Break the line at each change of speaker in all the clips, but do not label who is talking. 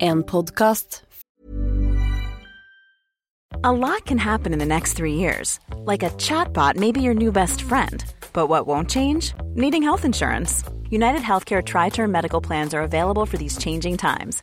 En podcast.
A lot can happen in the next three years. Like a chatbot may be your new best friend. But what won't change? Needing health insurance. United Healthcare Tri Term Medical Plans are available for these changing times.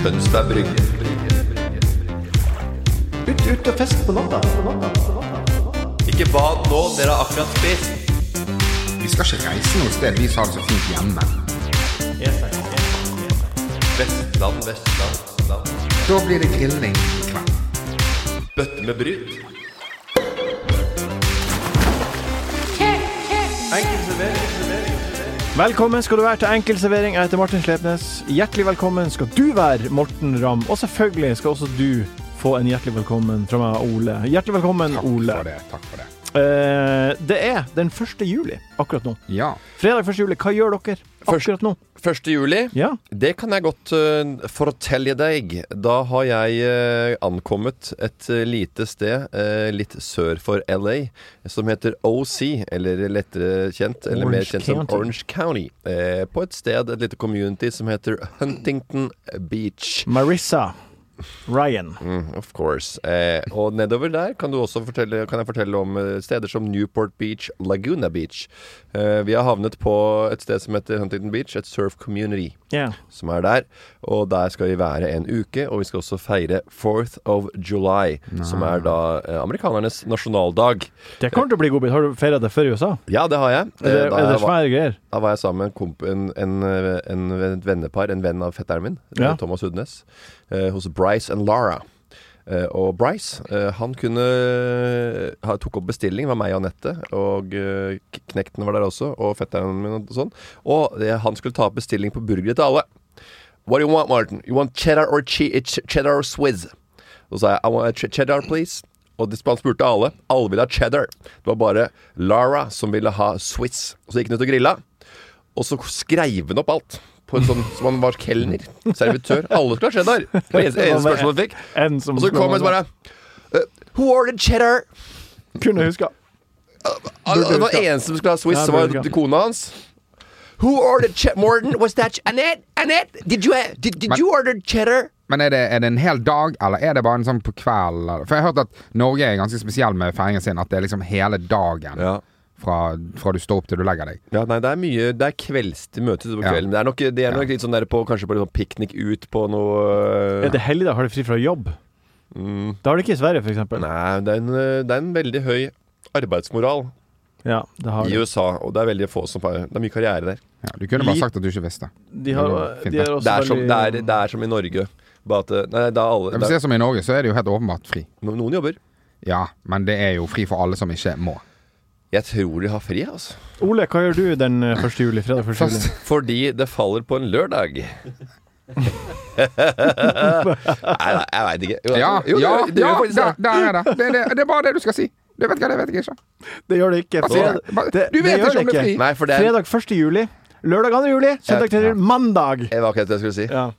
Tønsberg Brygge. Ut, ut og fest på natta. Ikke bad nå, dere har akkurat spist.
Vi skal ikke reise noe sted, vi har det så fint hjemme.
Vestland, Vestland, Vestland.
Da blir det grilling i kveld.
Bøtte med bryt.
Velkommen skal du være til Enkelservering. Jeg heter Martin Slepnes. Hjertelig velkommen skal du være, Morten Ramm. Og selvfølgelig skal også du få en hjertelig velkommen fra meg, Ole. Hjertelig velkommen,
Takk
Ole.
for det. takk for det.
Eh, det er den 1. juli akkurat nå.
Ja,
Fredag 1. juli. Hva gjør dere akkurat nå?
1. juli,
Ja,
det kan jeg godt eh, fortelle deg. Da har jeg eh, ankommet et eh, lite sted eh, litt sør for LA, som heter OC, eller lettere kjent, eller mer
Orange
kjent som
County.
Orange County. eh, på et sted, et lite community, som heter Huntington Beach.
Marissa Ryan.
Mm, of course. Eh, og nedover der kan, du også fortelle, kan jeg fortelle om eh, steder som Newport Beach, Laguna Beach. Eh, vi har havnet på et sted som heter Huntington Beach, et surf community
Ja.
som er der. Og der skal vi være en uke, og vi skal også feire 4th of July, som er da eh, amerikanernes nasjonaldag.
Det kommer til å bli godbit. Har du feira det før i USA?
Ja, det har jeg.
Er det,
Eh, da
er
jeg
det
var-
svære greier?
da var jeg sammen med en, komp en, en, en, et vennepar, en venn av fetteren min,
Ja.
Thomas Hudnes, eh, hos Bryce and Lara. Eh, og Bryce, eh, han kunne ha, tok opp bestilling, det var meg og Anette, og eh, k- knekten var der også, og fetteren min og sånn. Og eh, han skulle ta opp bestilling på burger til alle. What do you want, Martin? You want cheddar or, che ch cheddar or swizz? Så sa jeg I want a ch cheddar, please. Og de sp- han spurte alle. Alle ville ha cheddar. Det var bare Lara som ville ha Swiss. Og så gikk han ut og grilla. Og så skreiv han opp alt. På en sånn Som han var kelner. Servitør. Alle skulle ha cheddar. Det var eneste, eneste spørsmål han fikk.
En som
Og så kom han så bare «Eh, Who ordered cheddar?
Kunne huska.
Al- Det var eneste som skulle ha Swiss,
Ja,
som var
burger.
kona hans. Who ordered cheddar? Morten, was that Annette? Annette, did you, ha- did, did
Men-
you order cheddar?
Men er det, er det en hel dag, eller er det bare en sånn på kveld? eller? For jeg har hørt at Norge er ganske spesiell med feiringen sin. At det er liksom hele dagen
Ja.
fra, fra du står opp til du legger deg.
Ja, nei, det er mye Det er kvelds til møtes på
Ja.
kvelden. Men Det er nok, det er nok litt sånn der på Kanskje på litt sånn piknik ut på noe
Er det helligdag? Har de fri fra jobb? Det har de ikke i Sverige, f.eks.
Mm. Nei, det er, en, det er en veldig høy arbeidsmoral
Ja, det har
i
de.
USA, og det er veldig få som Det er mye karriere der.
Ja, du kunne bare
Li-
sagt at du ikke visste.
De har,
Fint,
de
det.
har også
Det er, som,
veldig-
det, er, det er som i Norge. Bare at det- Nei, det er alle
Men Hvis
det
det
er,
er som i Norge, så er det jo helt åpenbart fri.
no- Noen jobber.
Ja, men det er jo fri for alle som ikke må.
Jeg tror de har fri, altså.
Ole, hva gjør du den eh, 1. juli? Fredag 1. juli?
Først,
Fordi det faller på en lørdag. nei, nei, jeg veit ikke. Jo,
ja,
jo, det
ja,
gjør- det
ja
gjør faktisk
der,
det.
der er det. Det, er det. det er bare det du skal si. Du vet hva, det vet jeg ikke.
Det gjør det ikke.
Hva sier jeg? Bare- du vet
gjør
ikke om det er fri.
Nei, for det er,
Fredag 1. juli, lørdag 2. juli, søndag 3. juli, mandag.
det var akkurat det jeg skulle si. Det
Ja.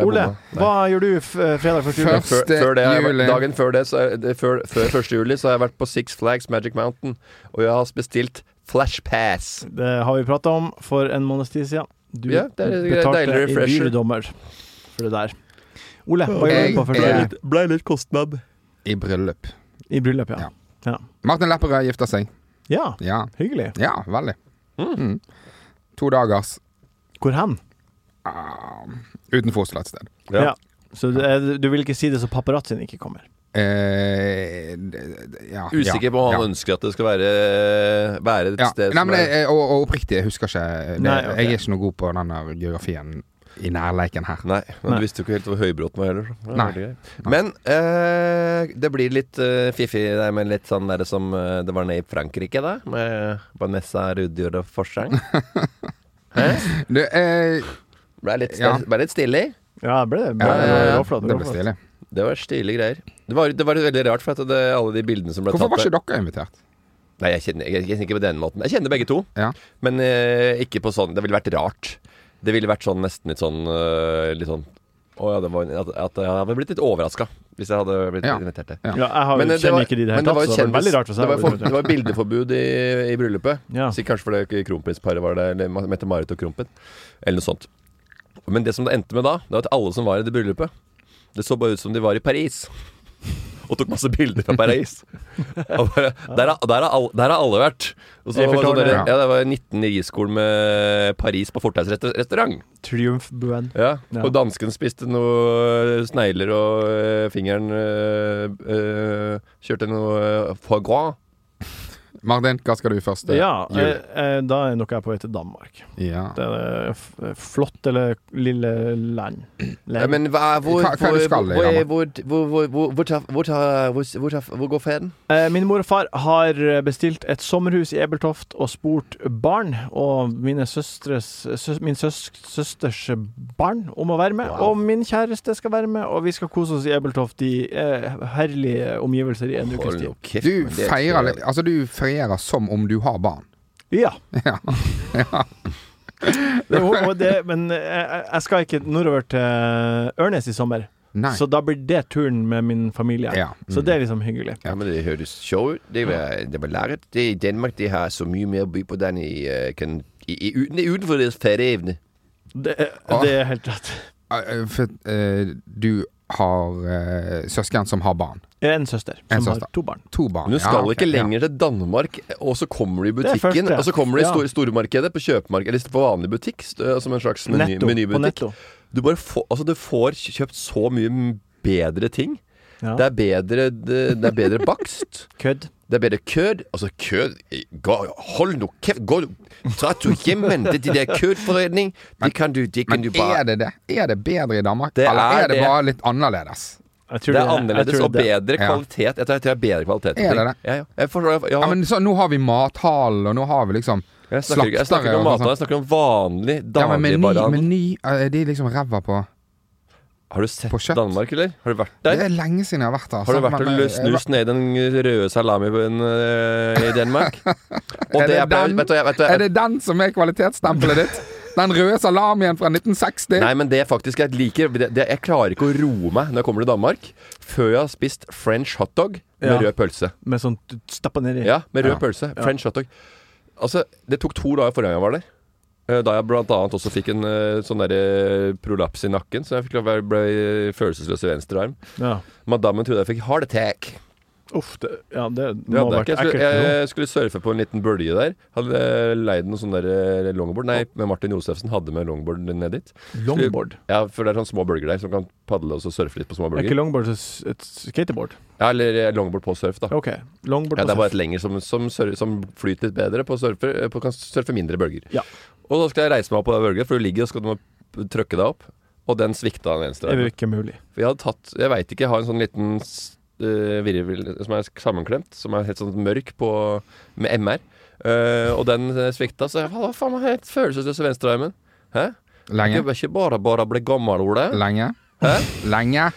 er
Ole,
bomma. Nei.
hva gjør du f eh, fredag 1. juli?
Men før,
Første
før det, har jeg vært-
juli.
dagen før det, så er det før, før 1. juli, så har jeg vært på Six Flags Magic Mountain, og jeg har bestilt Flash Pass.
Det har vi prata om for en måneds tid siden. Du
Ja, det er en deilig
betalte i
refresher.
dyredommer for det der. Ole, hva gjør
Jeg
du på 1.
er-
juli?
Blei litt kostnad.
I bryllup.
I bryllup, ja.
Martin Lepperød gifter seg.
Ja,
Ja,
hyggelig.
ja veldig. Mm. To dagers
Hvor hen?
ah, utenfor Oslo et sted.
Ja.
Så det er, du vil ikke si det så paparazzoen ikke kommer.
Eh, d- d- ja,
Usikker
ja,
på om han
ja.
ønsker at det skal være, være et
Ja.
sted
Nei, men
som er
jeg, og, og oppriktig, jeg husker ikke det,
Nei, ok.
Jeg er ikke noe god på den der geografien i nærleiken her.
Nei, men
Nei.
du visste jo ikke helt hvor Høybråten var heller. så det var
Nei.
veldig greit. Men eh, det blir litt eh, fiffig der, men litt sånn der som eh, det var nede i Frankrike, da. Med Vanessa Rudjord og Forsang. Hæ?
Du, eh,
Ble litt,
Ja.
ble litt stilig.
Ja, ble det. Ble,
Ja, ja,
ja.
råflott,
det ble
råflott.
stilig.
Det var stilige greier. Det var, det var veldig rart, for at det, alle de bildene som ble
Hvorfor var
tatt
ikke dere invitert?
Nei, jeg kjenner, jeg kjenner ikke på den måten. Jeg kjenner begge to,
Ja.
men eh, ikke på sånn Det ville vært rart. Det ville vært sånn nesten litt sånn eh, Litt sånn å, ja, det var, at, at jeg hadde blitt litt overraska hvis jeg hadde blitt
Ja.
invitert der.
Ja.
Ja, jeg har,
Men, eh, det
kjenner
var-
ikke de i det
men
hele
det
tatt,
var
så det var
kjendis-
veldig rart hvis
Det
jeg
var,
var
for, det var bildeforbud i, i bryllupet.
Ja.
Så kanskje fordi ikke kronprinsparet var der, eller Mette-Marit og Krompen, eller noe sånt. Men det som det endte med da, det var at alle som var i det bryllupet, det så bare ut som de var i Paris. Og tok masse bilder fra Paris. Og bare, der, har, der, har alle, der har alle vært. Og så
Jeg
var det,
forstår
sånn
det,
der- ja, det var 19 i skiskolen med Paris på fortausrestaurant.
Triumfbuen.
Ja.
Ja.
Og dansken spiste noe snegler, og eh, fingeren eh, eh, kjørte noe eh, foie gras.
Martin, hva skal du først? eh,
Ja,
jul?
eh, eh, da er nok jeg på vei til Danmark.
ja.
Det er et f- flotte eller lille land.
Ja,
Land.
men hva, hvor,
Hva- hva er det du skal,
hvor, hvor,
Ramon?
hvor, hvor, hvor, hvor, hvor, tar- hvor, tar- hvor, hvor, tar- hvor går ferden?
Eh, Min mor og far har bestilt et sommerhus i Ebeltoft og spurt barn og mine søstres, søs, min søs, søsters barn om å være med.
Wow.
Og min kjæreste skal være med, og vi skal kose oss i Ebeltoft i eh, herlige omgivelser i en ukes tid.
Du feirer litt Altså, du feirer som om du har barn.
Ja.
Ja.
Det, og det, men eh, jeg, jeg skal ikke nordover til Ørnes i sommer,
Nei.
så da blir det turen med min familie.
Ja, mm.
Så det er liksom hyggelig.
Ja, men det høres show ut. Det var, det var læret. Det i Danmark, de har så mye mer å by på den i, eh, kan, i, i, uten- utenfor deres ferieevne.
Det,
Ah.
det er helt rett.
Eh, For eh, du har eh, søsken som har barn.
Jeg er en søster som
En søster.
har to barn.
To barn.
Men du skal
Ah, ja, ok,
ikke
ja.
lenger til Danmark, og så kommer du i
er
butikken.
første.
Og så kommer du i
Ja.
stor, stormarkedet, på kjøpemarkedet, eller på vanlig butikk, stø- som en slags meny,
Netto. På
menybutikk.
netto.
Du, bare får, altså, du får kjøpt så mye bedre ting.
Ja.
Det er bedre, det, det er bedre bakst.
Kødd.
Det er bedre kød. Altså, kød gå, Hold nå kjeft! Gå Dra du hjem igjen til de der kødforening! Det kan du, det kan
Men
du bare
er det det? Er det bedre i Danmark?
Det
Eller
er
er det
det.
bare litt annerledes?
Jeg tror
Det er
jeg
annerledes
tror
og bedre
Ja.
kvalitet. Jeg tror jeg tror det er bedre kvalitet. på
Er det
ting.
det?
Ja, ja. Jeg, forstår, jeg, jeg,
Ja, men så, nå har vi mathallen, og nå har vi liksom
jeg snakker, ikke- jeg snakker ikke om
og
maten,
sånn.
jeg snakker om vanlig
Ja, men meny,
dagligvarehandel.
meny eh, Er de liksom ræva på
Har du sett
på kjøtt.
Danmark, eller? Har du vært
Det
der?
er lenge siden jeg har vært der.
Har du
sant?
vært
Men,
og
eh, jeg-
snust ned i den røde salamibøen øh, i Danmark? Og
Er
det
det
er på-
den?
Vet du, jeg- vet du,
Er det den som er kvalitetsstempelet ditt? Den røde salamien fra 1960?
Nei, men det er faktisk jeg liker det, det, Jeg klarer ikke å roe meg når jeg kommer til Danmark før jeg har spist french hotdog med
Ja.
rød pølse.
Med sånn du stapper nedi.
Ja, med rød
Ja.
pølse. French hotdog. Altså, det tok to dager forrige gang jeg var der. Eh, Da jeg blant annet også fikk en eh, sånn derre prolaps i nakken, så jeg fikk lov- jeg ble følelsesløs i venstre arm.
Ja.
Madammen trodde jeg fikk heart attack.
Uff, det, ja, det
Det
må ha
hadde jeg
vært
ikke. Jeg
ekkelt.
skulle,
nå.
jeg skulle surfe på en liten bølge der. Hadde eh, leid noen sånne der eh, longboard. Nei, men Martin Josefsen hadde med longboard ned dit.
Longboard.
Ja, for det er sånne små bølger der som kan padle og så surfe litt på små
Er ikke
bølger.
longboard s- et skateboard?
Ja, eller eh, longboard på surf, da.
OK. Longboard
Ja, det er
på
bare
surf.
et lenger som, som, sur- som flyter litt bedre på, surfer, eh, på kan surfe mindre bølger.
Ja.
Og da skal jeg reise meg opp på den bølgen, for du ligger og skal du må p- trykke deg opp. Og den svikta den venstre.
Det er jo
armen.
ikke mulig.
For jeg hadde tatt Jeg veit ikke, jeg har en sånn liten s- eh, virvel som er sammenklemt, som er helt sånn mørk på, med MR. Eh, og den eh, svikta, så jeg hva faen helt følelsesløs i venstrearmen. Hæ? Det
Lenge?
var ikke bare bare å bli gammel, Ole.
Lenge?
Hæ?
Lenge?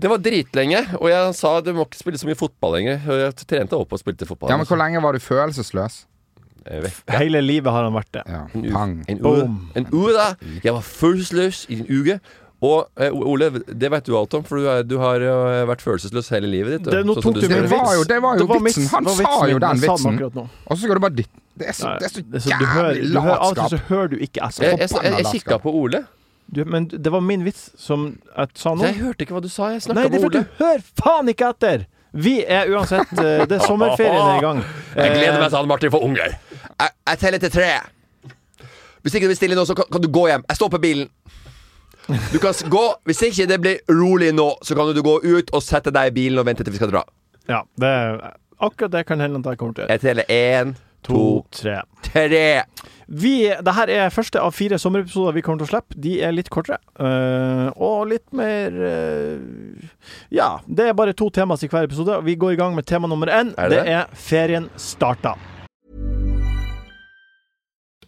Det var dritlenge, og jeg sa du må ikke spille så mye fotball lenger. Og jeg trente opp og spilte fotball.
Ja, men hvor lenge var du følelsesløs?
Jeg vet.
Hele livet har han vært det.
Ja,
En uke-
pang.
En uke,
Boom.
en uke da. Jeg var følelsesløs i en uke. Og eh, Ole, det vet du alt om, for du, er, du har eh, vært følelsesløs hele livet ditt. du.
Det- nå
Sånn som du
tok
Det
du
sier.
min vits.
var jo, det var jo
Det var
vitsen!
mitt-
Han
det var
sa
vitsen
jo
min,
den
jeg sa den
vitsen!
akkurat nå.
Og så skal du bare dytte Det er så,
Ja,
det er så
det er så- du hører-
jævlig
du hører- Av og til
latskap!
så hører du ikke etter.
Jeg, jeg, jeg, jeg kikka på Ole.
Du, men det var min vits som jeg sa nå.
Jeg hørte ikke hva du sa. Jeg
Nei,
snakka
det er
med
fordi
Ole.
du hører faen ikke etter! Vi er uansett eh, Det er sommerferien er i gang. Eh,
Jeg gleder meg sånn. til han Martin får unger. Jeg, jeg teller til tre. Hvis ikke du vil stille nå, så kan, kan du gå hjem. Jeg står på bilen. Du kan s- gå Hvis ikke det blir rolig nå, så kan du gå ut og sette deg i bilen og vente til vi skal dra.
Ja, det, akkurat det kan hende at jeg kommer til.
Jeg teller én, to,
tre.
tre.
Vi, det her er første av fire sommerepisoder vi kommer til å slippe. De er litt kortere. eh, og litt mer eh, Ja. Det er bare to temas i hver episode. og Vi går i gang med tema nummer én.
Er det det?
er Ferien starta.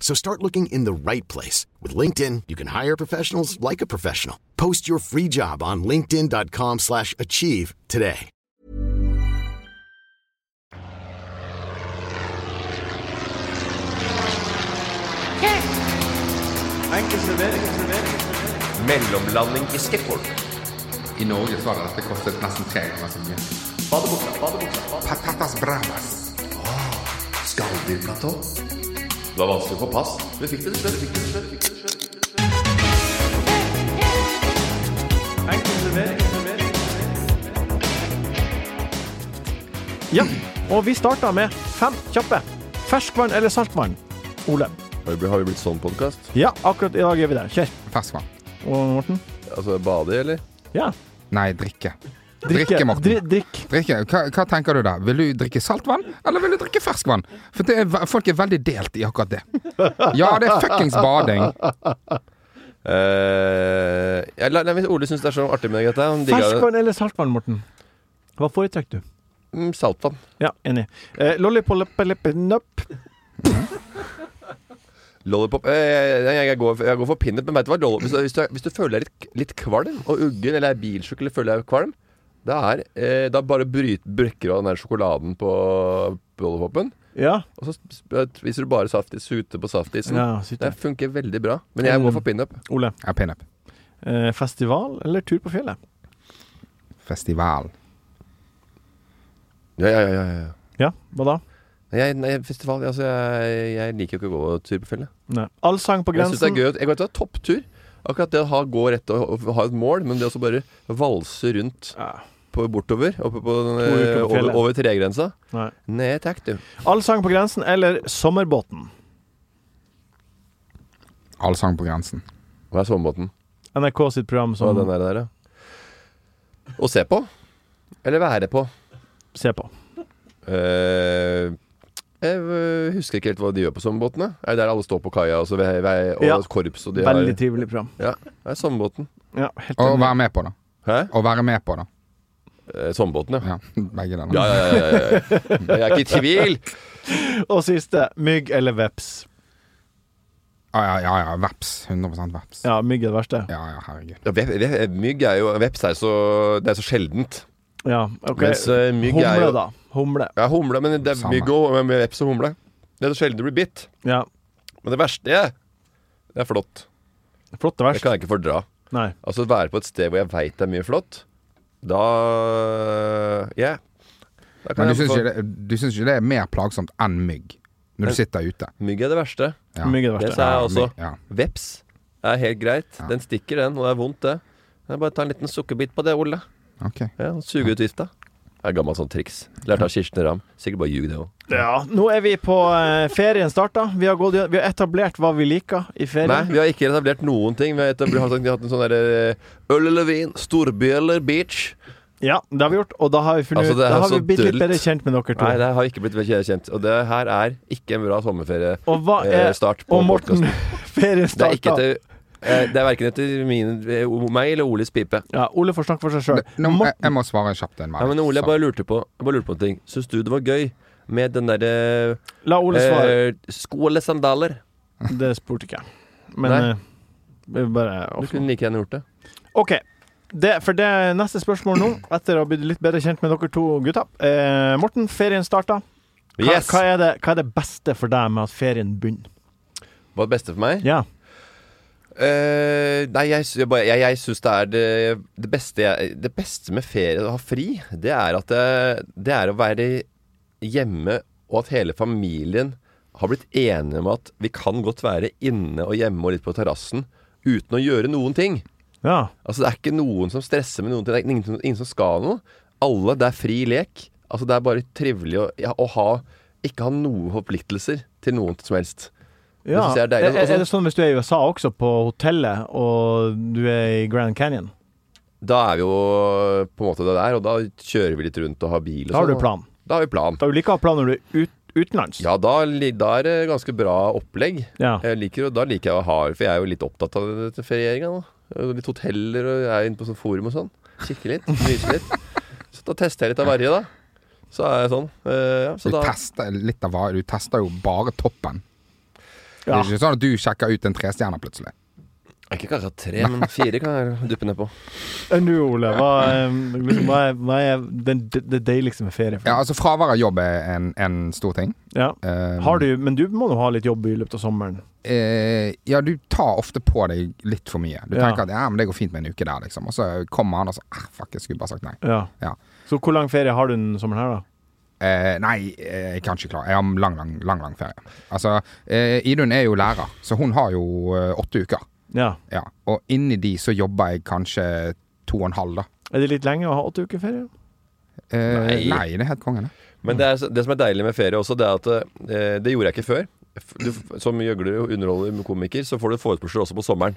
So start looking in the right place. With LinkedIn, you can hire professionals like a professional. Post your free job on linkedin.com/achieve slash achieve today.
Mellomlanding i Skepphol.
I Norge så hadde dette kostet nesten tre ganger så mye. Patatas bravas.
Skalldyrblatå. Det var vanskelig å få pass. Du fikk det til slutt.
Ja, og vi starta med fem kjappe. Ferskvann eller saltvann? Ole.
Har vi har vi blitt sånn podkast?
Ja, akkurat i dag er vi der. Kjør.
Ferskvann.
Og Morten?
Altså bade, eller?
Ja.
Nei, drikke. Drikke, Morten.
Dri, drikk.
Drikke, hva, hva tenker du der? Vil du drikke saltvann, eller vil du drikke ferskvann? For det er, ve- folk er veldig delt i akkurat det. Ja, det er fuckings bading.
Eh, jeg, la- nei, hvis Ole syns det er så artig med dette. Han digger det.
Ferskvann eller saltvann, Morten? Hva foretrekker du?
Mm, Saltvann.
Ja, enig. Eh, Lollipollepelepenup.
Lollipop. Eh, jeg, jeg, jeg, går, for- jeg går for pinnip, men vet du hva? Lollipop, hvis, du- hvis, du, hvis du føler deg litt, litt kvalm og uggen, eller er bilsjuk eller føler deg kvalm, da, er, eh, da bare bryt, brekker du av den der sjokoladen på på lollipopen.
Ja.
Og så sp- spiser du bare saftis, suter på saftisen.
ja sitt
Det
der.
funker veldig bra. Men jeg går for pinup.
Ole.
Ja, pinup.
Eh, festival eller tur på fjellet?
Festival.
Ja, ja, ja, ja, ja.
Ja, hva da?
Jeg, nei, festival, altså, jeg, jeg liker jo ikke å gå tur på fjellet.
Nei. Allsang på
Jeg syns det er
grensen.
gøy at- Jeg går til å ha topptur. Akkurat det å ha, gå rett og, og ha et mål, men det å så bare valse rundt
Ja.
på, bortover, oppe på den,
To uker på
eh, over,
fjellet.
over tregrensa
Nei.
Nei takk, du.
Allsang på grensen eller Sommerbåten?
Allsang på grensen.
Hva er sommerbåten?
NRK sitt program
Hva
som
er den der, der, ja? Å se på? Eller være på?
ser på.
Eh, jeg eh, husker ikke helt hva de gjør på sommerbåtene. Er det der alle står på kaia og, så vei, vei, og
Ja.
korps og de har
Veldig trivelig program.
Ja, det er sommerbåten.
Ja, helt
Å
enig.
være med på det.
Hæ?
Å være med på det.
Eh, sommerbåten, ja.
Ja, begge deler.
Ja, ja, ja, ja, ja, ja. Jeg er ikke i tvil!
Og siste. Mygg eller veps?
Ah, ja, ja, ja, veps. 100 veps. Ja,
Ja, mygg er det verste.
ja, herregud.
Ja, ve- ve- Mygg er jo Veps er jo så, det er så sjeldent.
Ja, ok.
Mens eh, mygg er
Humle,
jo
da. Humle.
Ja, humle, men det er
Samme.
mygg og men veps og humle. Det er så sjelden du blir bitt.
Ja.
Men det verste Det er flått.
Flott og
Det
verst.
kan jeg ikke fordra.
Nei.
Altså være på et sted hvor jeg veit det er mye flått, da Ja. Da kan
Men du
jeg
syns
få-
ikke, det- du syns ikke det er mer plagsomt enn mygg når du sitter ute?
Mygg er det verste.
Ja.
Mygg er det
Det
verste.
sa jeg også.
mygg, ja.
Veps er helt greit. Den stikker, den, og det er vondt, det. Jeg bare ta en liten sukkerbit på det, Ole.
Ok.
Ja, og Suge ut vifta. Det er gammelt sånn triks. Lærte av Kirsten Ramm. Sikkert bare ljug, det òg.
Ja, nå er vi på eh, ferien starta. Vi har, gått, vi har etablert hva vi liker i
Nei,
ferien.
vi har ikke etablert noen ting. Vi har, etabl- har sagt- vi har hatt en sånn derre Øl eller vin, storby eller beach.
Ja, det har vi gjort, og da har vi funnet
Altså,
ut
det er
Da har vi
så
blitt litt
dølt.
bedre kjent med dere to.
Nei, det har ikke blitt veldig kjent. Og det her er ikke en bra sommerferie.
og hva
eh,
er
start på
Og Morten,
podcasten.
ferien
Det er ikke
starta.
etter Eh, Det er verken etter mine, meg eller Oles pipe.
Ja, Ole får snakke for seg sjøl.
Nå, må- jeg, jeg må svare kjapt en
Ja, men Ole, jeg bare lurte på, jeg bare lurte på en ting. Syns du det var gøy med den derre
La Ole svare.
eh, sko eller sandaler?
Det spurte ikke jeg. Men
Nei.
eh, vi bare
Du kunne like gjerne gjort det.
OK. Det, for det neste spørsmål nå, etter å ha blitt litt bedre kjent med dere to gutta eh, Morten, ferien starta. Hva,
Yes!
hva, er det, hva er det beste for deg med at ferien begynner?
Var det beste for meg?
Ja.
Eh, nei, jeg, sy- jeg, bare- jeg, jeg syns det er det, det beste jeg, Det beste med ferie, å ha fri, det er at det, det er å være hjemme, og at hele familien har blitt enige om at vi kan godt være inne og hjemme og litt på terrassen uten å gjøre noen ting.
ja.
Altså Det er ikke noen som stresser med noen ting. Det er ingen, som- ingen som skal noe. Alle, det er fri lek. Altså Det er bare trivelig å, ja, å ha ikke ha noen forpliktelser til noen som helst.
Ja.
synes jeg er
Er,
deilig.
er, er det sånn hvis du er i USA også, på hotellet, og du er i Grand Canyon?
Da er vi jo på en måte det der, og da kjører vi litt rundt og har bil og
Da har
sånn,
du
da.
plan.
Da har vi plan.
Da vil du ikke ha plan når du er ut, utenlands.
Ja, Eh. da, li- da er det ganske bra opplegg.
Ja.
Jeg liker, og da liker jeg å ha For jeg er jo litt opptatt av dette ferieringa. da. Og Litt hoteller, og jeg er inne på sånn forum og sånn. Kikker litt, myser litt. Så da tester jeg litt av varje, da. Så er jeg sånn. eh, ja, så
Du
da,
tester, litt av, hva- du tester jo bare toppen. Det
Ja.
er ikke sånn at du sjekker ut en trestjerne plutselig.
Jeg kan Ikke kanskje ha tre, men fire kan jeg duppe ned på.
Enn du, Ole. Hva, eh, liksom, hva er, hva er den, det, det deiligste med ferie? for
Ja,
deg?
altså Fravær av jobb er en, en stor ting.
Ja.
Eh,
Har du, men du må nå ha litt jobb i løpet av sommeren.
eh, ja, du tar ofte på deg litt for mye. Du
Ja.
tenker at ja, men det går fint med en uke der, liksom. Og så kommer han og så ah, Fuck, jeg skulle bare sagt nei.
Ja.
Ja.
Så hvor lang ferie har du denne sommeren her, da?
Eh, nei, eh, jeg kan ikke klare Jeg har lang, lang, lang, lang ferie. Altså, eh, Idun er jo lærer, så hun har jo eh, åtte uker.
Ja.
Ja. Og inni de så jobber jeg kanskje to og en halv, da.
Er det litt lenge å ha åtte uker ferie?
Eh, nei.
Nei.
det er helt kongen, det.
Men det, er, så- det som er deilig med ferie også, det er at eh, det gjorde jeg ikke før. F- Du, f- som gjøgler og underholder med komiker, så får du forespørsler også på sommeren.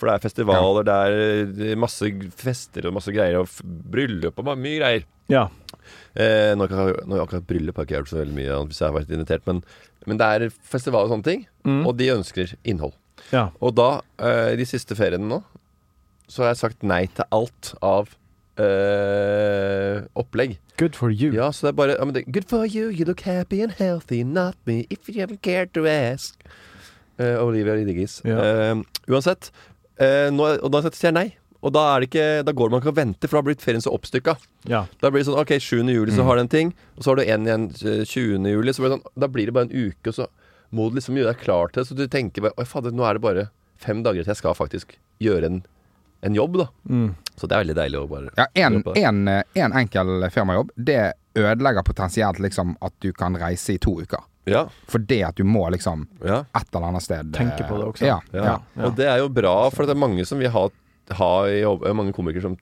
For det er festivaler, det er, det er masse fester og masse greier, og f- bryllup og ma- mye greier.
Ja.
Eh, nå har jeg- nå har jeg akkurat bryllup har jeg ikke gjort så veldig mye hvis jeg har vært invitert, men, men det er festivaler og sånne ting, og de ønsker innhold.
Ja.
Og da, eh, de siste feriene nå, så har jeg sagt nei til alt av eh, opplegg.
Good for you.
Ja, så det er bare ja, men det, Good for you, you look happy and healthy, not me, if you haven't cared to ask. Eh, Olivia Rodriguez.
Ja.
Eh, uansett, eh, nå, og da sier jeg nei. Og da, er det ikke, da går man ikke og venter, for da har blitt ferien så oppstykka.
Ja.
Da blir det sånn OK, 7. juli så har du en ting, og så har du en igjen eh, 20. juli. Så blir det sånn, da blir det bare en uke, og så må du liksom gjøre deg klar til det. Så du tenker bare Oi, fader, nå er det bare fem dager til jeg skal faktisk gjøre en, en jobb, da. Så det er veldig deilig å bare
Ja, en,
jobbe på det.
en, eh, en enkel firmajobb, det ødelegger potensielt liksom at du kan reise i to uker.
Ja,
Fordi at du må liksom
ja.
et eller annet sted eh,
Tenke på det også.
Ja,
Ja.
ja.
Og det er jo bra, for det er mange som vil ha, ha i jobb, eh, mange komikere som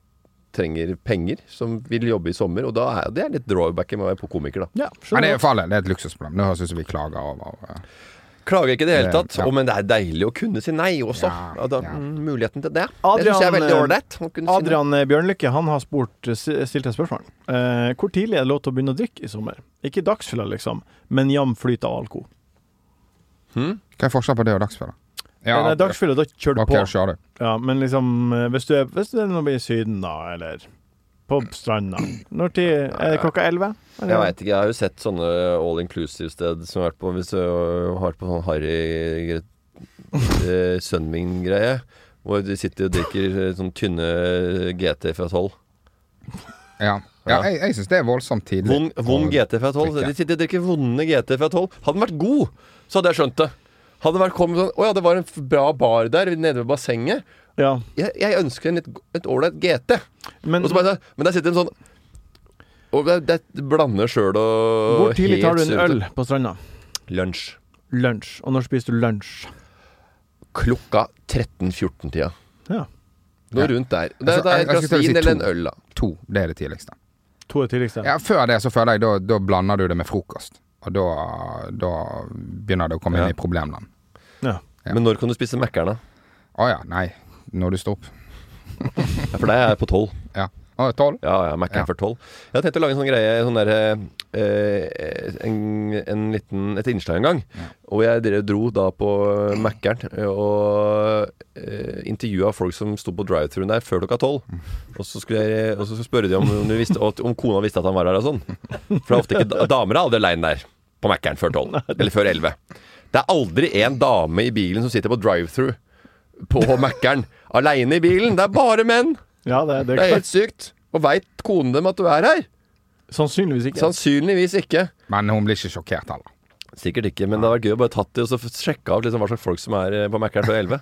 trenger penger, som vil jobbe i sommer. Og da er det er litt drawback med å være på komiker, da.
Ja,
Men det
skjønner
er for alle, det er et luksusproblem. Nå høres det ut som vi klager over eh,
Klager ikke i det hele
Det-
tatt.
ja.
Å, men det er deilig å kunne si nei også.
Ja,
Ja, da,
ja.
mm, Muligheten til det. det syns jeg er
Adrian,
veldig
eh,
ålreit. å kunne si nei.
Adrian eh, Bjørnlykke han har spurt, s- stilt et spørsmål. Eh, hvor tidlig er det lov til å begynne å drikke i sommer? Ikke dagsfylla, liksom, men jevn flyt av alkohol.
Hva er forskjellen på det og dagsføre? Ja,
Eh, Nei, dagsfylla, da kjører du
ok,
på.
kjør du.
Ja, men liksom eh, Hvis du er, hvis du er nå i Syden, da, eller på stranda Når tid Er det klokka elleve?
Jeg veit ikke. Jeg har jo sett sånne all inclusive-sted som har vært på Hvis du har vært på sånn harry eh, Sunming-greie, hvor de sitter og drikker eh, sånn tynne GT fra 12.
Ja, ja jeg, jeg syns det er voldsomt tidlig.
Vond, vond
Og-
GT fra 12.
drikke.
De sitter og drikker vonde GT fra 12. Hadde den vært god, så hadde jeg skjønt det. Hadde det vært kommet sånn Å ja, det var en f- bra bar der nede ved bassenget.
Ja.
Jeg, jeg ønsker en litt g- et ålreit GT.
Men
Og så bare, men der sitter en sånn og det, det blander sjøl og
hvor tidlig tar du
sånn, øh, helt
en
surrete.
øl på stranda?
Lunsj.
Lunsj. Og når spiser du lunsj?
Klokka 13-14-tida.
Ja.
Noe rundt der. Det,
Altså,
det er et
jeg- jeg
glass
skulle til å si
vin eller en
to.
øl, da.
To, det er det tidligste.
To er tidligste.
Ja, før det så føler jeg da, da blander du det med frokost. Og da, da begynner det å komme
Ja.
inn i problemland.
Ja.
Ja.
Men når kan du spise Mækkern, da?
Å ja, nei. Når du står opp.
Ja, for deg er jeg på tolv.
Ja. Å, tolv?
Ja, ja, Mækkern
Ja.
før tolv. Jeg har tenkt å lage en sånn greie, sånn derre eh, en, en liten, et innslag en gang. Og jeg dere dro da på Mækkern eh, og eh, intervjua folk som sto på drive-thruen der før klokka tolv. Og så skulle jeg og så spørre de om, om, de visste, om kona visste at han var her og sånn. For det er ofte ikke da- damer er aldri aleine der på Mækkern før tolv. Eller før elleve. Det er aldri en dame i bilen som sitter på drive-thru på Mækkern aleine i bilen. Det er bare menn!
Ja, det, det
Det
er
er helt
klart.
sykt. Og veit konen dem at du er her?
Sannsynligvis ikke.
Sannsynligvis ikke.
Men hun blir ikke sjokkert heller.
Sikkert ikke, men det hadde vært gøy å bare tatt de og så f- sjekke av liksom hva slags folk som er eh, på Mækkern før 11.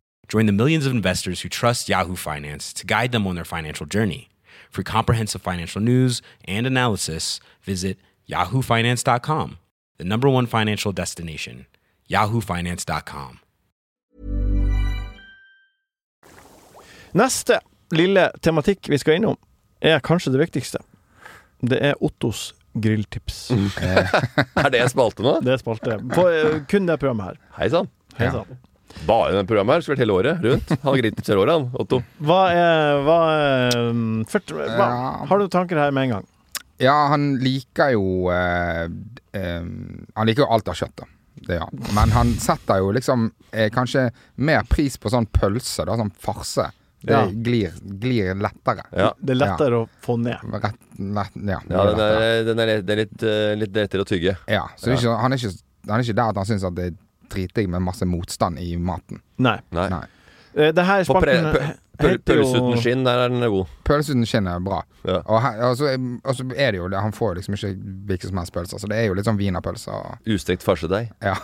Join the millions of investors who trust Yahoo Finance to guide them on their financial journey. For comprehensive financial news and analysis, visit yahoofinance.com, the number one financial destination, yahoofinance.com.
Neste lille tematikk vi skal innom, er kanskje det viktigste. Det er Ottos grilltips.
Er det en spalte nå?
Mm. Det er spalte. På eh, kun det programmet her.
Hei sann.
Hei
Ja.
sann.
Bare det programmet her skulle vært hele året rundt. Han har gritips hele året, han, Otto.
Hva er Hva, er, um, først, hva
Ja.
Har du tanker her med en gang?
Ja, han liker jo eh, eh, Han liker jo alt av kjøtt, da. Det gjør han. Men han setter jo liksom eh, kanskje mer pris på sånn pølse, da, sånn farse. Det
Ja.
glir, glir lettere.
Ja.
Det er lettere å få ned.
Rett, lett, ja,
Ja,
det
den er, den er, litt- det er litt, eh, litt lettere å tygge.
ja. Så det er ikke, han, er ikke, han er ikke der at han syns at det er dritdigg med masse motstand i maten.
Nei.
Nei.
Nei.
Eh, Det her
På pre-
spalten
pø- pøl-
heter jo-
Pølse uten skinn, der er den god.
Pølse uten skinn er bra.
Ja.
Og, her, og, så, og så er det jo det, Han får jo liksom ikke hvilke som helst pølser, så det er jo litt sånn wienerpølser. og-
Ustekt farsedeig.
Ja.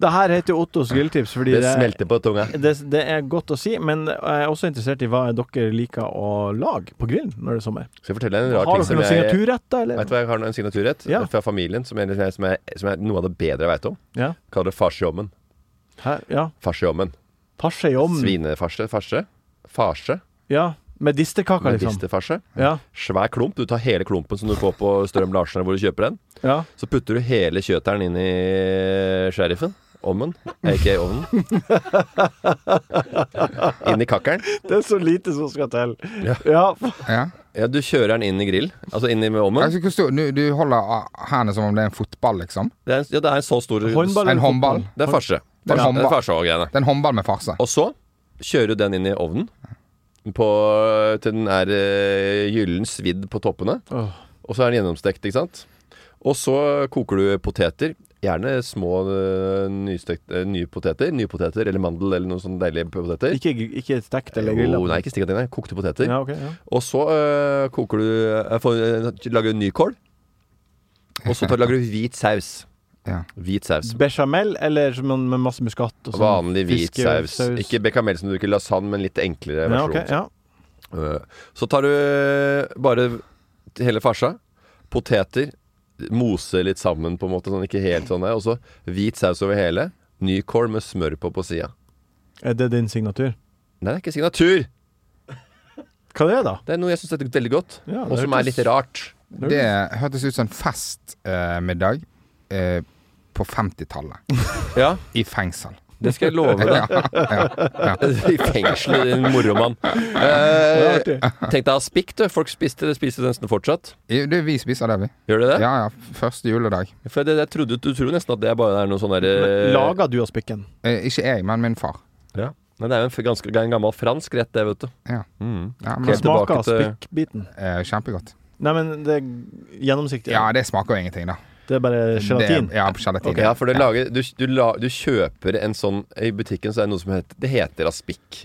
Det her heter jo Ottos grilltips fordi
Det
det,
smelter på tunga.
det, det er godt å si, men jeg er også interessert i hva dere liker å lage på grillen når det er sommer.
Skal jeg fortelle en rar
Har
ting
dere
som
noen
jeg
signaturretter,
Vet du
eller?
hva jeg har en signaturrett
Ja.
fra familien som er, som, er, som er noe av det bedre jeg veit om?
Ja.
Kaller det farsejommen.
Hæ? ja.
Farsejommen.
Farse i ovnen.
Svinefarse. Farse. Farse.
Ja. Medisterkaker, liksom.
Medisterfarse.
Ja.
Svær klump. Du tar hele klumpen som du får på Strøm Larsen eller hvor du kjøper den.
ja.
Så putter du hele kjøteren inn i sheriffen. Ommen. Ikke ovnen. Inn i kakkeren.
Det er så lite som skal til.
Ja.
Ja.
Ja.
Ja, du kjører den inn i grill. Altså inn i med
Jeg
ovnen.
synes ikke stor- du, du holder ah, hendene som om det er en fotball, liksom.
Det er, en- ja, det er en så stor
Håndball
En
eller
håndball.
fotball?
Det er farse.
Det
Ja,
er
Det
håndball.
er farse og greiene.
Det er en håndball med farse.
Og så kjører du den inn i ovnen. På, til den er eh, gyllen svidd på toppene.
Åh.
Og så er den gjennomstekt, ikke sant? Og så koker du poteter. Gjerne små eh, nystekt- eh, nye poteter. Nye poteter eller mandel eller noen sånne deilige poteter.
Ikke, ikke stekt eller grilla?
Jo, nei, ikke stikk av dine. Kokte poteter.
Ja, ok, ja.
Og så øh, koker du øh, får, øh, Lager du nykål. Og så tar, lager du hvit saus.
Ja.
Hvit saus.
Bechamel eller som en- med masse muskat? Og sånn
Vanlig hvit
fiskesaus?
saus. Ikke bechamel som du bruker i lasagne, men litt enklere
ja,
versjon.
ok, ja.
Øh, Så tar du øh, bare hele farsa. Poteter. Mose litt sammen, på en måte. Sånn, ikke helt sånn der. Og så hvit saus over hele. Nykål med smør på på sida.
Er det din signatur?
Nei, det er ikke signatur!
Hva det er det, da?
Det er noe jeg syns er veldig godt,
Ja, det
og som
hørtes-
er litt rart.
Det hørtes ut som en festmiddag eh, på 50-tallet.
Ja,
I fengsel.
det skal jeg love deg.
Ja, ja, ja.
I fengselet, din moromann.
Ja,
Eh,
artig.
tenk deg aspik, du. Folk spiste det, spiser det nesten fortsatt.
Det, vi spiser det, vi.
Gjør de det?
Ja, ja. Første juledag.
For det, jeg trodde, du tror nesten at det bare er noe sånn derre
Lager du av spikken?
Eh, ikke jeg, men min far.
Ja. Nei, det er jo en, f- ganske, det er en gammel fransk rett, det, vet du.
Ja.
Mm.
Ja,
Hva
men,
Helt
smaker
tilbake til-
spikkbiten?
eh, kjempegodt.
Nei, men det er gjennomsiktig.
Ja, det smaker jo ingenting, da.
Det er bare gelatin.
Det, ja, gelatin.
Ja, for det lager, du, du, la, du kjøper en sånn I butikken så er det noe som heter Det heter aspik.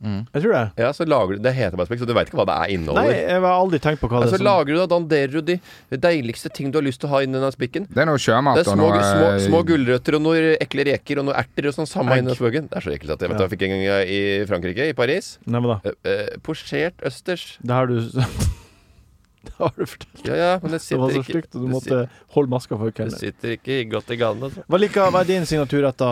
Jeg tror det.
Ja, så lager du Det heter bare aspik, så du veit ikke hva det er
Nei,
inneholder.
jeg har aldri tenkt på hva
Ja,
det
så
er. som-
lager du da, danderer du de deiligste ting du har lyst til å ha inni den aspikken.
Det er noe sjømat
Det er
og
små,
noe eh,
små,
eh,
små gulrøtter og noen ekle reker og noen erter og sånn samme inni aspikken. Det er så ekkelt at jeg vet du,
Ja.
jeg fikk en gang i Frankrike, i Paris.
Nei, men da.
Eh, eh, posjert østers.
Det har du Det har du fortalt.
Ja, ja, men det
Det
sitter
var så
ikke
stygt, og du
det
måtte holde maska for
sitter, det
kvelden.
sitter ikke godt i ganen. Altså.
Hva liker hva er din signaturrett, da,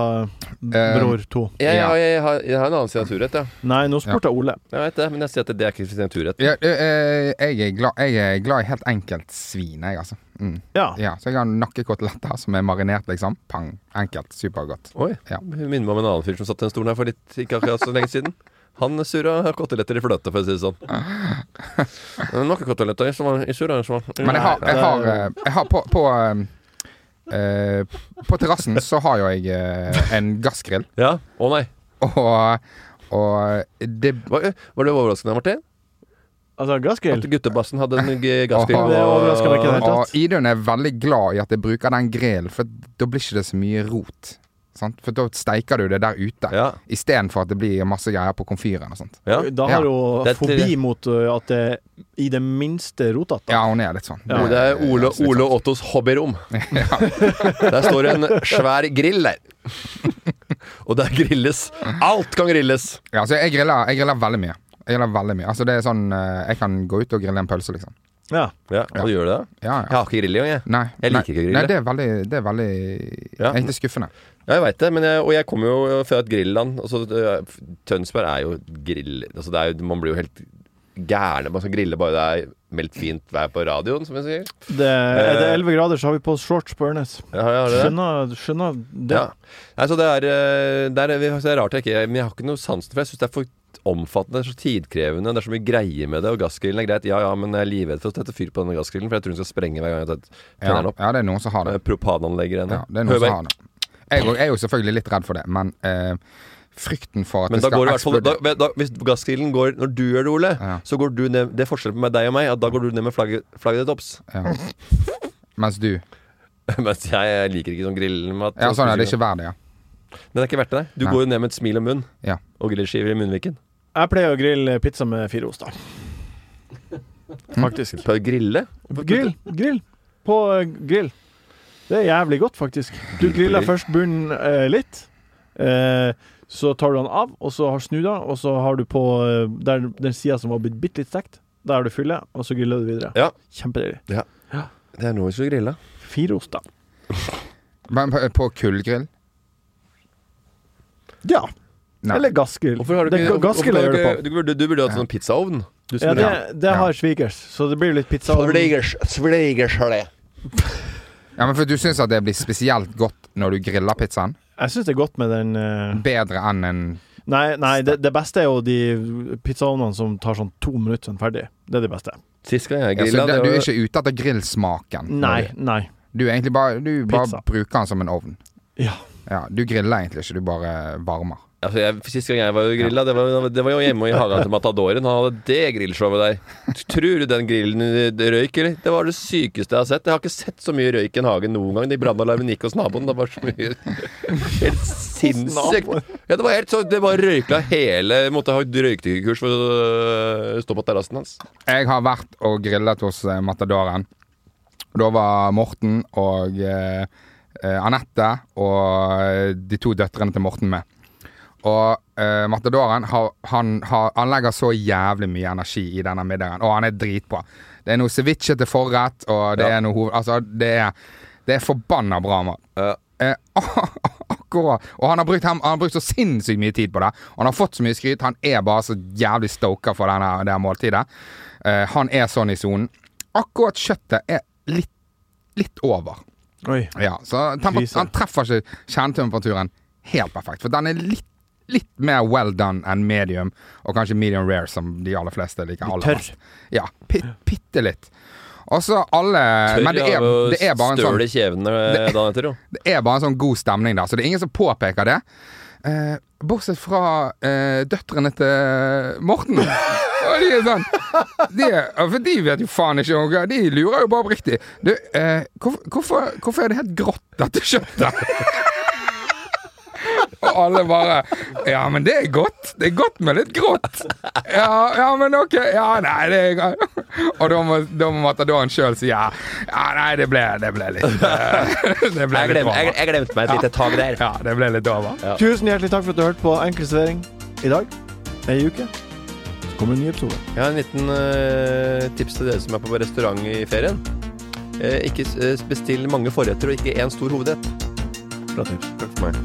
Eh,
Bror 2?
Jeg,
Ja.
har- jeg, har, jeg har en annen signaturrett, ja.
Nei, nå spurte jeg Ole.
Jeg vet det, men jeg sier at det er ikke signaturrett.
ja, eh, jeg, er glad, jeg er glad i helt enkelt svin, jeg, altså. Mm.
Ja.
Ja, så jeg har nakkekoteletter som er marinert, liksom. Pang. Enkelt. Supergodt.
Oi,
Ja.
Hun minner meg om en annen fyr som satt i den stolen her for litt, ikke akkurat så lenge siden. Han surra koteletter i fløte, for å si det sånn. Det er Noen koteletter i surra. i surra, som var-
Men jeg har, jeg
det-
har, eh, jeg har på, på eh, eh, På terrassen så har jo jeg eh, en gassgrill,
Ja. Å nei.
og, og det
Var, var det overraskende, Martin?
Altså,
At
gassgrill?
guttebassen hadde en g- gassgrill?
Åh,
det overrasker meg ikke i det hele tatt.
Og Idun er veldig glad i at jeg bruker den grillen, for da blir ikke det så mye rot. Sant? For da steiker du det der ute,
Ja.
istedenfor at det blir masse greier på komfyren og sånt.
ja.
Da har
Ja.
hun
Det er
fobi
til-
mot ø, at det i det minste rotete.
Ja, hun er litt sånn.
Jo, det er Ole, Ole og Ottos hobbyrom. Der står en svær grill der. Og der grilles. Alt kan grilles!
Ja, så jeg griller, jeg griller veldig mye. Jeg griller veldig mye. Altså, det er sånn eh, Jeg kan gå ut og grille en pølse, liksom.
Ja.
Ja, og gjør du det?
Ja,
Jeg
ja.
har ikke grill engang, jeg.
Nei,
Jeg
nei,
liker ikke å grille.
Nei, det er veldig, det er veldig
Ja.
Egentlig skuffende.
Ja, jeg veit det, men jeg, og jeg kommer jo fra et grilland. Altså, det- Tønsberg er jo grill... Altså, det er jo, man blir jo helt gæren. Man skal grille bare det er meldt fint vær på radioen, som jeg sier.
Det, er
Eh.
det 11 grader, så har vi på oss shorts på Ørnes.
Ja, ja, har du det?
Skjønner, skjønner det.
Ja. Nei, så det er, eh, det er, det er rart jeg ikke Men jeg har ikke noe sansen for det. Jeg syns det er for omfattende, det er så tidkrevende, det er så mye greier med det. Og gassgrillen er greit. Ja ja, men jeg er livredd for å sette fyr på denne gassgrillen, for jeg tror den skal sprenge hver gang jeg tar-
Ja.
tenner den opp.
ja, det er noen som har det.
Eh, Propananlegget igjen.
Ja, det er noen som har det. Jeg, er jo- jeg er jo selvfølgelig litt redd for det, men eh, frykten for at
Men da
det skal
går det i hvert fall da,
eksplodere
da, Hvis gassgrillen går når du gjør det, Ole,
Ja.
så går du ned Det er forskjell på meg, deg og meg, at da går du ned med flagget, flagget til topps.
ja. Mens du
Mens jeg, jeg liker ikke sånn grillmat.
Ja, sånn er det ikke verdt det, ja.
Den er ikke verdt det. Du
Nei.
går jo ned med et smil om munn
Ja.
og grillskiver i munnviken.
Jeg pleier å grille pizza med fire oster.
Mm. Hm?
Faktisk.
Prøv å grille.
Grill. Grill. På ø, grill. Det er jævlig godt, faktisk. Du griller først bunnen ø, litt. eh, så tar du den av, og så har snu den, og så har du på ø, der, den sida som var blitt bitte litt stekt. Der har du fylle, og så griller du videre.
Ja.
Kjempedeilig.
Det er nå vi skal grille.
Fire oster.
Men på, på kullgrill?
Ja.
Nei.
Eller gassgrill.
Hvorfor har du
Det er
ikke
ga- gassgrill
hvorfor har
jeg
du
gjør det
ikke- Du burde, du burde hatt sånn pizzaovn. Du
Ja,
skulle-
det, sånn- det
Ja.
har svigers, så det blir litt pizza.
Ja, men for du syns at det blir spesielt godt når du griller pizzaen?
Jeg syns det er godt med den eh,
Bedre enn en
Nei, nei det, det beste er jo de pizzaovnene som tar sånn to minutter sånn ferdig. Det er det beste.
Sist gang jeg
ja,
grilla,
så det,
det
Du er
var-
ikke ute etter grillsmaken?
Nei,
når
nei.
Du, du er egentlig bare, du bare
Pizza.
bruker den som en ovn.
Ja.
Ja, Du griller egentlig ikke, du bare varmer.
altså, jeg, Sist gang jeg var og grilla, det, var- det var jo hjemme i hagen til Matadoren. Han hadde det grillshowet der. Tror du den grillen eh, røyk, eller? Det var det sykeste jeg har sett. Jeg har ikke sett så mye røyk i en hage noen gang. De brannalarmen gikk hos naboen. Det var så mye Helt sinnssykt. Ja, det var helt så Det bare røykla hele Måtte ha røykdykkerkurs for å øh, stå på terrassen hans.
Jeg har vært og grillet hos eh, Matadoren. Da var Morten og eh, eh, Anette og eh, de to døtrene til Morten med. Og eh, Matadoren har, han, har, han legger så jævlig mye energi i denne middagen, og han er dritbra. Det er noe ceviche til forrett, og det
Ja.
er noe hoved... Altså, det er, det er forbanna bra mat.
Ja.
Eh, akkurat. Og han har, brukt, han, han har brukt så sinnssykt mye tid på det. Og han har fått så mye skryt. Han er bare så jævlig stoka for denne, det her måltidet. Eh, han er sånn i sonen. Akkurat kjøttet er litt, litt over.
Oi.
Ja, så temper,
Krise.
han treffer ikke kjernetemperaturen helt perfekt. For den er litt, litt mer well done enn medium, og kanskje medium rare, som de aller fleste liker aller
tørr.
best. Ja, bitte litt. Og så alle Men det er,
av å
det er bare en sånn
Støle kjevene eh, dagen etter, jo.
det er bare en sånn god stemning der, så det er ingen som påpeker det. Eh, eh, Bortsett fra eh, døtrene til eh, Morten. Og de er sånn de, er- ja, For de vet jo faen ikke noe. De lurer jo bare oppriktig. Du, eh, hvorfor, hvorfor, hvorfor er det helt grått, dette kjøttet? Og alle bare Ja, men det er godt. Det er godt med litt grått. Ja, ja men ok. Ja, nei, det er greit. Og da må, da må matadoren sjøl si ja. Ja, nei, det ble, det ble litt eh, Det
Jeg
ble litt
glemte, jeg,
varmt.
jeg glemte meg et lite tak der.
Ja, det ble litt over.
Tusen hjertelig takk for at du hørte på Enkel servering i dag. Ei uke, så kommer en ny episode.
Jeg har en liten eh, tips til dere som er på restaurant i ferien. Eh, ikke s- eh, bestill mange forretter og ikke én stor hovedrett.
Bra tips.
Takk for meg.